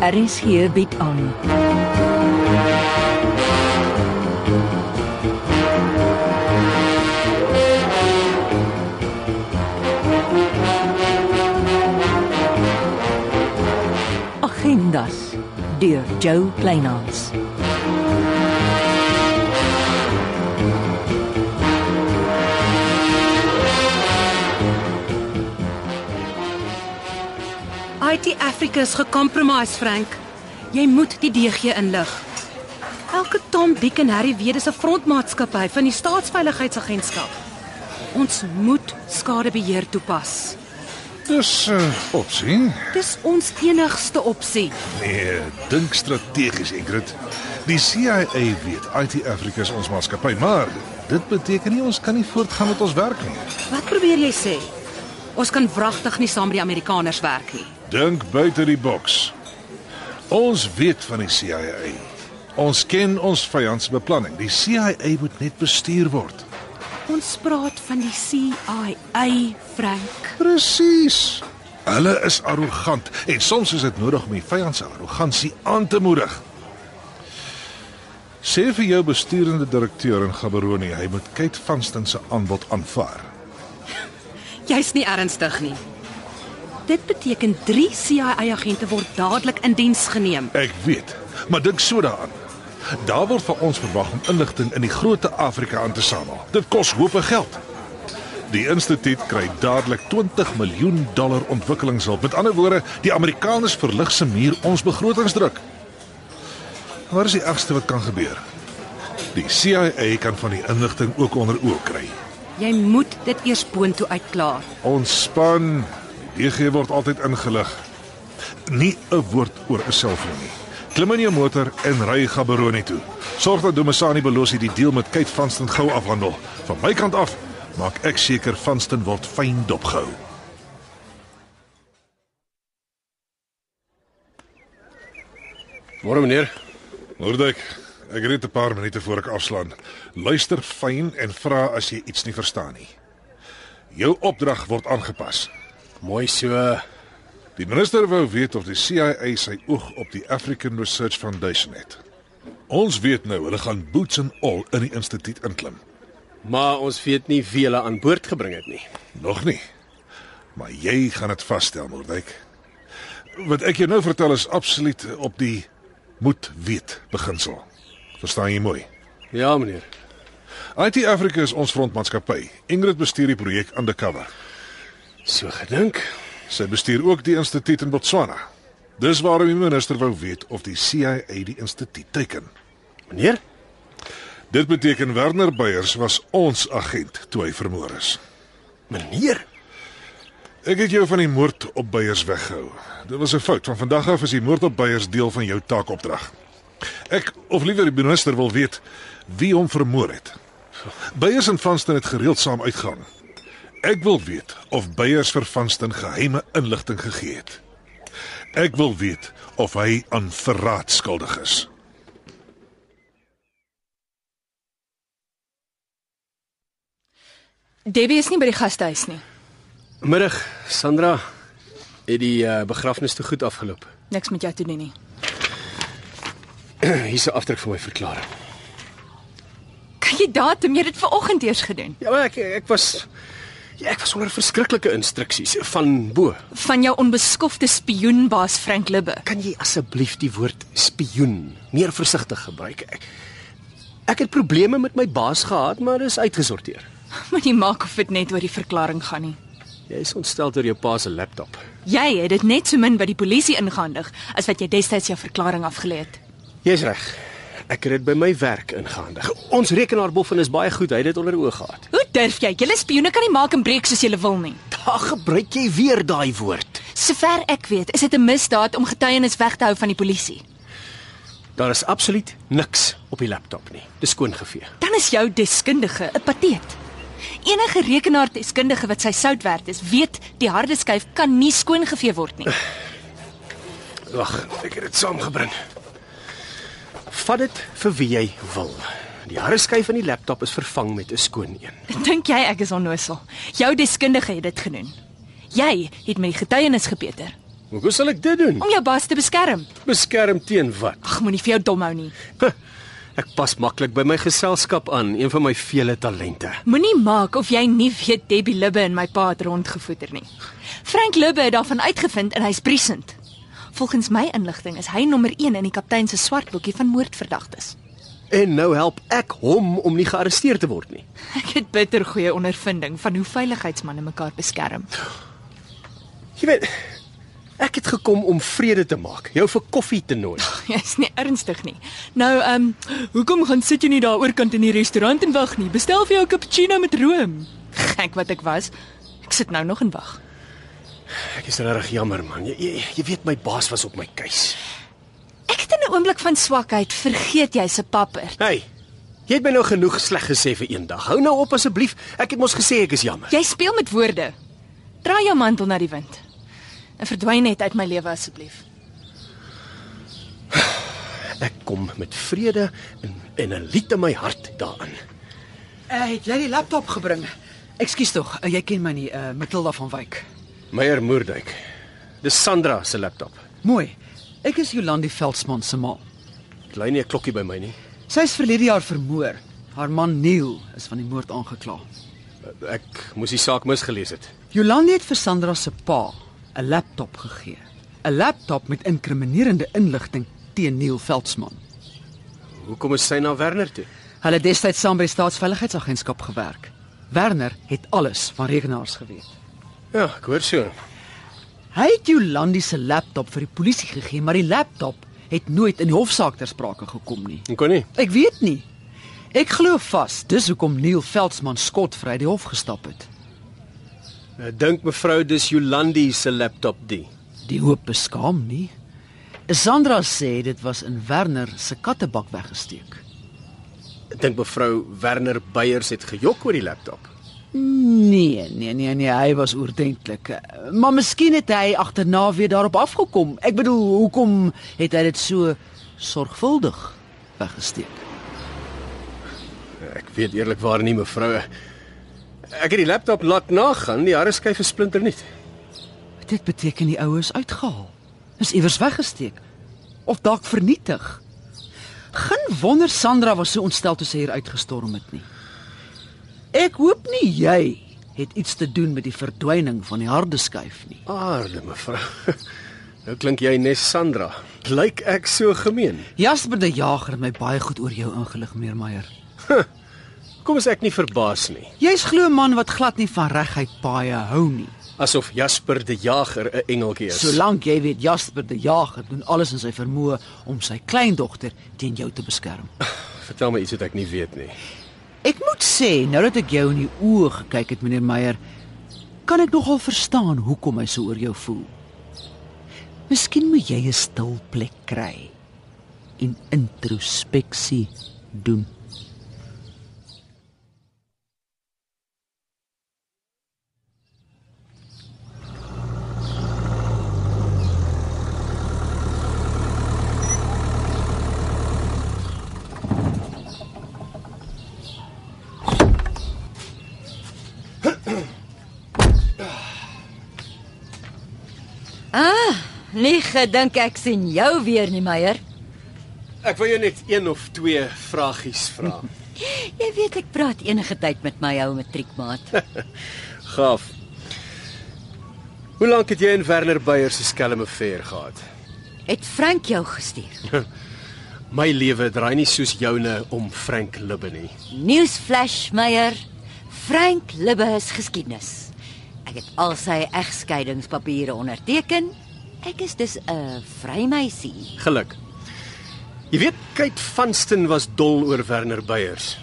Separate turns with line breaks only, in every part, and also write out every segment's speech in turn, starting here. Aris hier bied aan. Agendas deur Jo Kleinhans.
IT Africa is gecompromise, Frank. Jy moet die DG inlig. Elke Tom, Dick en Harry weet dis 'n frontmaatskappy van die Staatsveiligheidsagentskap. Ons moet skadebeheer toepas.
Dis uh, opsien.
Dis ons enigste opsie.
Nee, dink strategies, Ingrid. Die CIA weet IT Africa is ons maatskappy, maar dit beteken nie ons kan nie voortgaan met ons werk nie.
Wat probeer jy sê? Ons kan wragtig nie saam met die Amerikaners werk nie.
Dink buite die boks. Ons weet van die CIA. Ons ken ons vyand se beplanning. Die CIA moet net bestuur word.
Ons praat van die CIA, Frank.
Presies. Hulle is arrogant en soms is dit nodig om die vyand se arrogansie aan te moedig. Sê vir jou besturende direkteur in Gaborone, hy moet Kate Vanston se aanbod aanvaar.
Jy's nie ernstig nie. Dit beteken 3 CIA-agente word dadelik in diens geneem.
Ek weet, maar dink so daaraan. Daar word van ons verwag om inligting in die grootte Afrika aan te samel. Dit kos hope geld. Die instituut kry dadelik 20 miljoen dollar ontwikkelingshulp. Met ander woorde, die Amerikaners verlig se muur ons begrotingsdruk. Wat is die ergste wat kan gebeur? Die CIA kan van die inligting ook onder oë kry.
Jy moet dit eers boontoe uitklaar.
Ontspan. Die DG word altyd ingelig. Nie 'n woord oor 'n selfoon nie. Klim in jou motor en ry Gaborone toe. Sorg dat Domisani Belosi die deal met Kate Vanston gou afhandel. Van my kant af maak ek seker Vanston word fyn dopgehou.
Môre meneer.
Noordek, ek ry 'n paar minute voor ek afslaan. Luister fyn en vra as jy iets nie verstaan nie. Jou opdrag word aangepas.
Mooi so.
Die minister wou weet of die CIA sy oog op die African Research Foundation het. Ons weet nou hulle gaan boots en al in die instituut inklim.
Maar ons weet nie wie hulle aan boord gebring het nie.
Nog nie. Maar jy gaan dit vasstel, Moordwyk. Wat ek jou nou vertel is absoluut op die moet weet beginsel. Verstaan jy mooi?
Ja meneer.
IT Africa is ons frontmaatskappy. Ingrid bestuur die projek undercover.
So gedink.
Sy bestuur ook die instituut in Botswana. Dis waarom die minister wou weet of die CIA die instituut teiken.
Meneer,
Dit beteken Werner Beyers was ons agent toe hy vermoor is.
meneer.
Ek het jou van die moord op Beyers weggehou. Dit was 'n fout. Van vandag af is die moord op Beyers deel van jou taakopdrag. Ek of liewer die minister wil weet wie hom vermoor het. Beyers en Vanston het gereeld saam uitgegaan. Ek wil weet of Beyers vir Vanston geheime inligting gegee het. Ek wil weet of hy aan verraad skuldig is.
Debbie is nie by die gastehuis nie.
Middag, Sandra. Het die uh, begrafnis te goed afgeloop.
Niks met jou te doen nie.
Hier's 'n afdruk van my verklaring.
Kan jy datum jy het dit vanoggend eers gedoen
Ja, maar ek ek was ja, ek was onder verskriklike instruksies van bo.
van jou onbeskofte spioenbaas Frank Libbe.
Kan jy asseblief die woord spioen meer versigtig gebruik? Ek, ek het probleme met my baas gehad, maar dis uitgesorteer.
Moenie maak of dit net oor die verklaring gaan nie.
Jy is ontstel deur jou pa se laptop.
Jy het dit net so min by die polisie ingehandig as wat jy destyds jou verklaring afgelê het.
Jy's reg. Ek het dit by my werk ingehandig. Ons rekenaarboffin is baie goed. Hy het dit onder oë gehad.
Hoe durf jy? Julle spioene kan nie maak en breek soos julle wil nie.
Daar gebruik jy weer daai woord.
Sover ek weet, is dit 'n misdaad om getuienis weg te hou van die polisie.
Daar is absoluut niks op die laptop nie. Dis skoongevee.
Dan is jou deskundige 'n pateet. Enige rekenaardeskundige wat sy sout werd is, weet die harde skyf kan nie skoongevee word nie.
Wag, ek het dit saamgebring. Vat dit vir wie jy wil. Die harreskyf van die laptop is vervang met 'n skoon een.
Dink jy ek is onnosel? Jou deskundige het dit genoem. Jy het met die getuienis gepeter.
Maar Hoe sal ek dit doen?
om jou baas te beskerm.
Beskerm teen wat?
Ag, moenie vir jou dom hou nie.
Ek pas maklik by my geselskap aan, een van my vele talente.
Moenie maak of jy nie weet Debbie Libbe en my pa het rondgevoeter nie. Frank Libbe het daarvan uitgevind en hy's briesend. Volgens my inligting is hy nommer 1 in die kaptein se swart boekie van moordverdagtes.
En nou help ek hom om nie gearresteer te word nie.
Ek het bitter goeie ondervinding van hoe veiligheidsmanne mekaar beskerm.
Jy weet, ek het gekom om vrede te maak, jou vir koffie te nooi.
Jy's nie ernstig nie. Nou, ehm, um, hoekom gaan sit jy nie daar oorkant in die restaurant en wag nie? Bestel vir jou 'n cappuccino met room. Gek wat ek was. Ek sit nou nog en wag.
Ek is regtig jammer man. Jy, jy, jy weet my baas was op my keus.
Ek het in 'n oomblik van swakheid vergeet jy's 'n papper.
Hey, jy het my nou genoeg sleg gesê vir eendag. Hou nou op asseblief. Ek het mos gesê ek is jammer.
Jy speel met woorde. Draai jou mantel na die wind. En verdwyn net uit my lewe asseblief.
Ek kom met vrede en en 'n lied in my hart daarin.
Uh, het jy die laptop gebring? Ekskuus tog, uh, jy ken my nie, uh, Matilda van Wyk.
Meyer Moerdijk. Dis Sandra se laptop.
Mooi. Ek is Jolandi Veldsmann se ma.
Klein nie 'n klokkie by my nie.
Sy is verlede jaar vermoor. Haar man Neil is van die moord aangekla.
Ek moes die saak misgelees het.
Jolandi het vir Sandra se pa 'n laptop gegee. 'n Laptop met inkriminerende inligting teen Neil Veldsmann.
Hoekom is sy na Werner toe?
Hulle het destyds saam by die Staatsveiligheidsagentskap gewerk. Werner het alles van regenaars geweet.
Ja, ek hoor so.
Hy het Jolandi se laptop vir die polisie gegee, maar die laptop het nooit in die hofsaak ter sprake gekom nie.
Ek kon nie.
Ek weet nie. Ek glo vas, dis hoekom Neil Veldsmann skotvry die hof gestap het.
Ek Eh, dink mevrou dis Jolandi se laptop die.
Die hoop beskaam nie. Sandra sê dit was in Werner se kattebak weggesteek.
Ek dink mevrou Werner Beyers het gejok oor die laptop.
Nee, nee, nee, nee, hy was oordentlik. Maar miskien het hy agterna weer daarop afgekom. Ek bedoel, hoekom het hy dit so sorgvuldig weggesteek?
Eh, Ek weet eerlikwaar nie mevrou. Ek het die laptop laat nagaan, die harreskyf is splinter nie.
Dit beteken die oues uitgehaal. Is iewers weggesteek of dalk vernietig. Geen wonder Sandra was so ontstel toe sy hier uitgestorm het nie. Ek hoop nie jy het iets te doen met die verdwyning van die harde skuif nie.
Aarde mevrou. Nou klink jy nes Sandra. Lyk ek so gemeen?
Jasper die Jager het my baie goed oor jou ingelig, meneer Meyer.
Kom as ek nie verbaas nie.
Jy's glo 'n man wat glad nie van regheid paaie hou nie.
Asof Jasper die Jager 'n engeltjie is.
Solank jy weet Jasper die Jager doen alles in sy vermoë om sy kleindogter teen jou te beskerm.
Vertel my iets wat ek nie weet nie.
Ek moet sê, nou dat ek jou in die oë gekyk het, meneer Meyer, kan ek nogal verstaan hoekom hy so oor jou voel. Miskien moet jy 'n stil plek kry en introspeksie doen.
Nie Nee, gedink ek sien jou weer nie, Meyer.
Ek wil jou net een of twee vragies vra.
Jy weet ek praat enige tyd met my ou matriekmaat.
Gaaf. Hoe lank het jy en Werner Beyers se skelm affair gehad?
Het Frank jou gestuur?
My lewe draai nie soos joune om Frank Libbe nie.
Newsflash, Meyer. Frank Libbe is geskiedenis. Ek het al sy egskeidingspapiere onderteken. Ek is dus 'n vrymeisie.
Geluk. Jy weet Kate Vanston was dol oor Werner Beyers.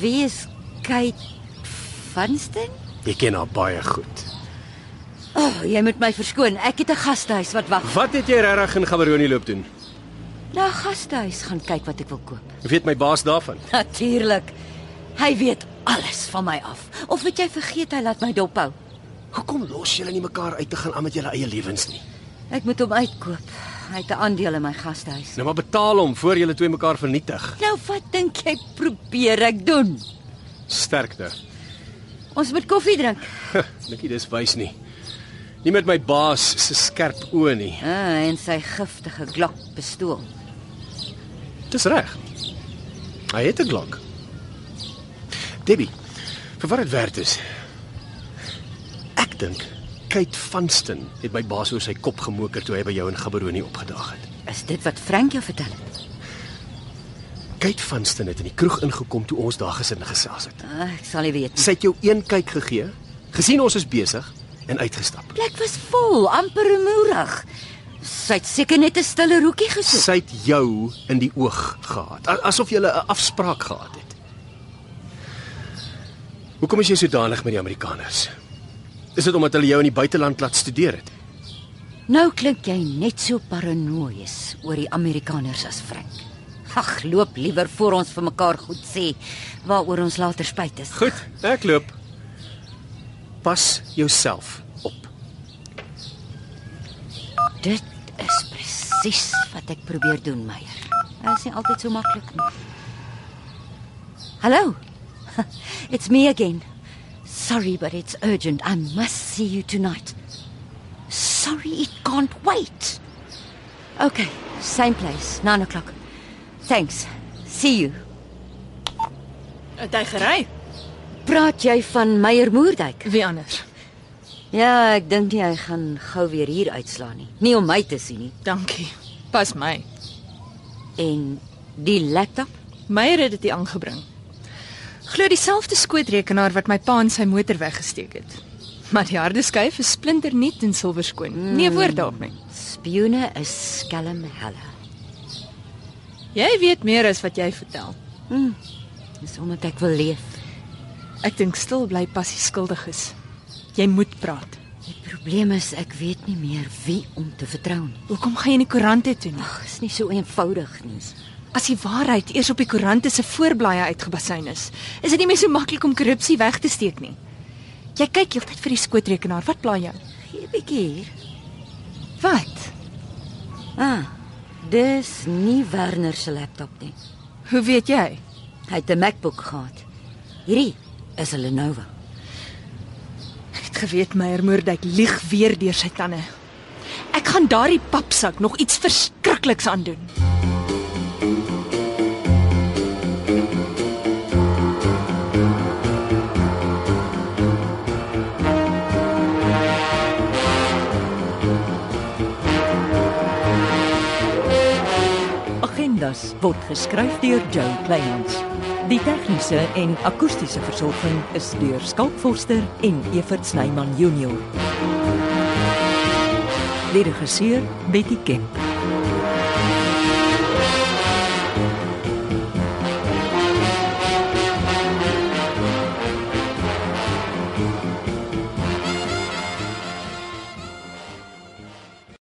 Wie is Kate Vanston?
Jy ken haar baie goed.
O, oh, jy moet my verskoon. Ek het 'n gastehuis wat wag.
Wat het jy regtig in Gaborone loop doen?
Na gastehuis gaan kyk wat ek wil koop.
Weet my baas daarvan?
Natuurlik. Hy weet alles van my af. Of het jy vergeet hy laat my dophou?
Hoekom los julle nie mekaar uit te gaan aan met julle eie lewens nie?
Ek moet hom uitkoop. Hy het 'n aandeel in my gastehuis.
Nou maar betaal hom voor julle twee mekaar vernietig.
Nou wat dink jy probeer ek doen?
Sterkte.
Ons moet koffie drink.
Dink jy dis wys nie. Nie met my baas se skerp oë nie.
Ah, en sy giftige glokpistool.
Dis reg. Hy het 'n Glock. Debbie, vir wat dit werd is. Ek dink Kate Vanston het my baas oor sy kop gemoker toe hy by jou in Gaborone opgedaag het.
Is dit wat Frank jou vertel het?
Kate Vanston het in die kroeg ingekom toe ons daar gesin gesels het.
Ah, ek sal nie weet nie.
Sy het jou een kyk gegee, gesien ons is besig en uitgestap.
Plek was vol, amper rumoerig. Sy het seker net 'n stille hoekie gesoek.
Sy het jou in die oog gehad, a- asof julle 'n afspraak gehad het. Hoekom is jy sodanig met die Amerikaners? Is dit omdat hulle jou in die buiteland laat studeer het?
Nou klink jy net so paranoïes oor die Amerikaners as Frank. Ag, loop liewer voor ons vir mekaar goed sê waaroor ons later spyt is.
Goed, ek loop. Pas jouself op.
Dit is presies wat ek probeer doen, Meyer. Dit is nie altyd so maklik nie. Hallo. It's me again. Sorry, but it's urgent. I must see you tonight. Sorry, it can't wait. Okay, same place, 9 o'clock. Thanks. See you.
Het hy gery?
Praat jy van Meyer Moerdijk?
Wie anders?
Ja, ek dink nie hy gaan gou weer hier uitslaan nie. Nie om my te sien nie.
Dankie. Pas my.
En die laptop?
Meyer het dit hier aangebring. Glo dieselfde skootrekenaar wat my pa in sy motor weggesteek het. Maar die harde skyf is splinternuut en silwerskoon. Mm. Nee woord daarop nie.
Spioene is skelm helle.
Jy weet meer as wat jy vertel.
Dis omdat ek wil leef.
Ek dink stil bly passie skuldig is. Jy moet praat.
Die probleem is ek weet nie meer wie om te vertrou nie.
Hoekom gaan jy nie koerante toe nie?
Ag, is nie so eenvoudig nie.
As die waarheid eers op die koerante se voorblaaie uitgebasyn is, is dit nie meer so maklik om korrupsie weg te steek nie. Jy kyk heeltyd vir die skootrekenaar. Wat pla jou?
Gee 'n bietjie hier.
Wat?
Ah, dis nie Werner se laptop nie.
Hoe weet jy?
Hy het 'n MacBook gehad. Hierdie is 'n Lenovo.
Ek het geweet Meyer Moerdijk lieg weer deur sy tande. Ek gaan daardie papsak nog iets verskrikliks aandoen.
Agendas word geskryf deur Joe Kleinhans. Die tegniese en akoestiese versorging is deur Skalk Forster en Evert Snyman Junior. Die regisseur Betty Kemp.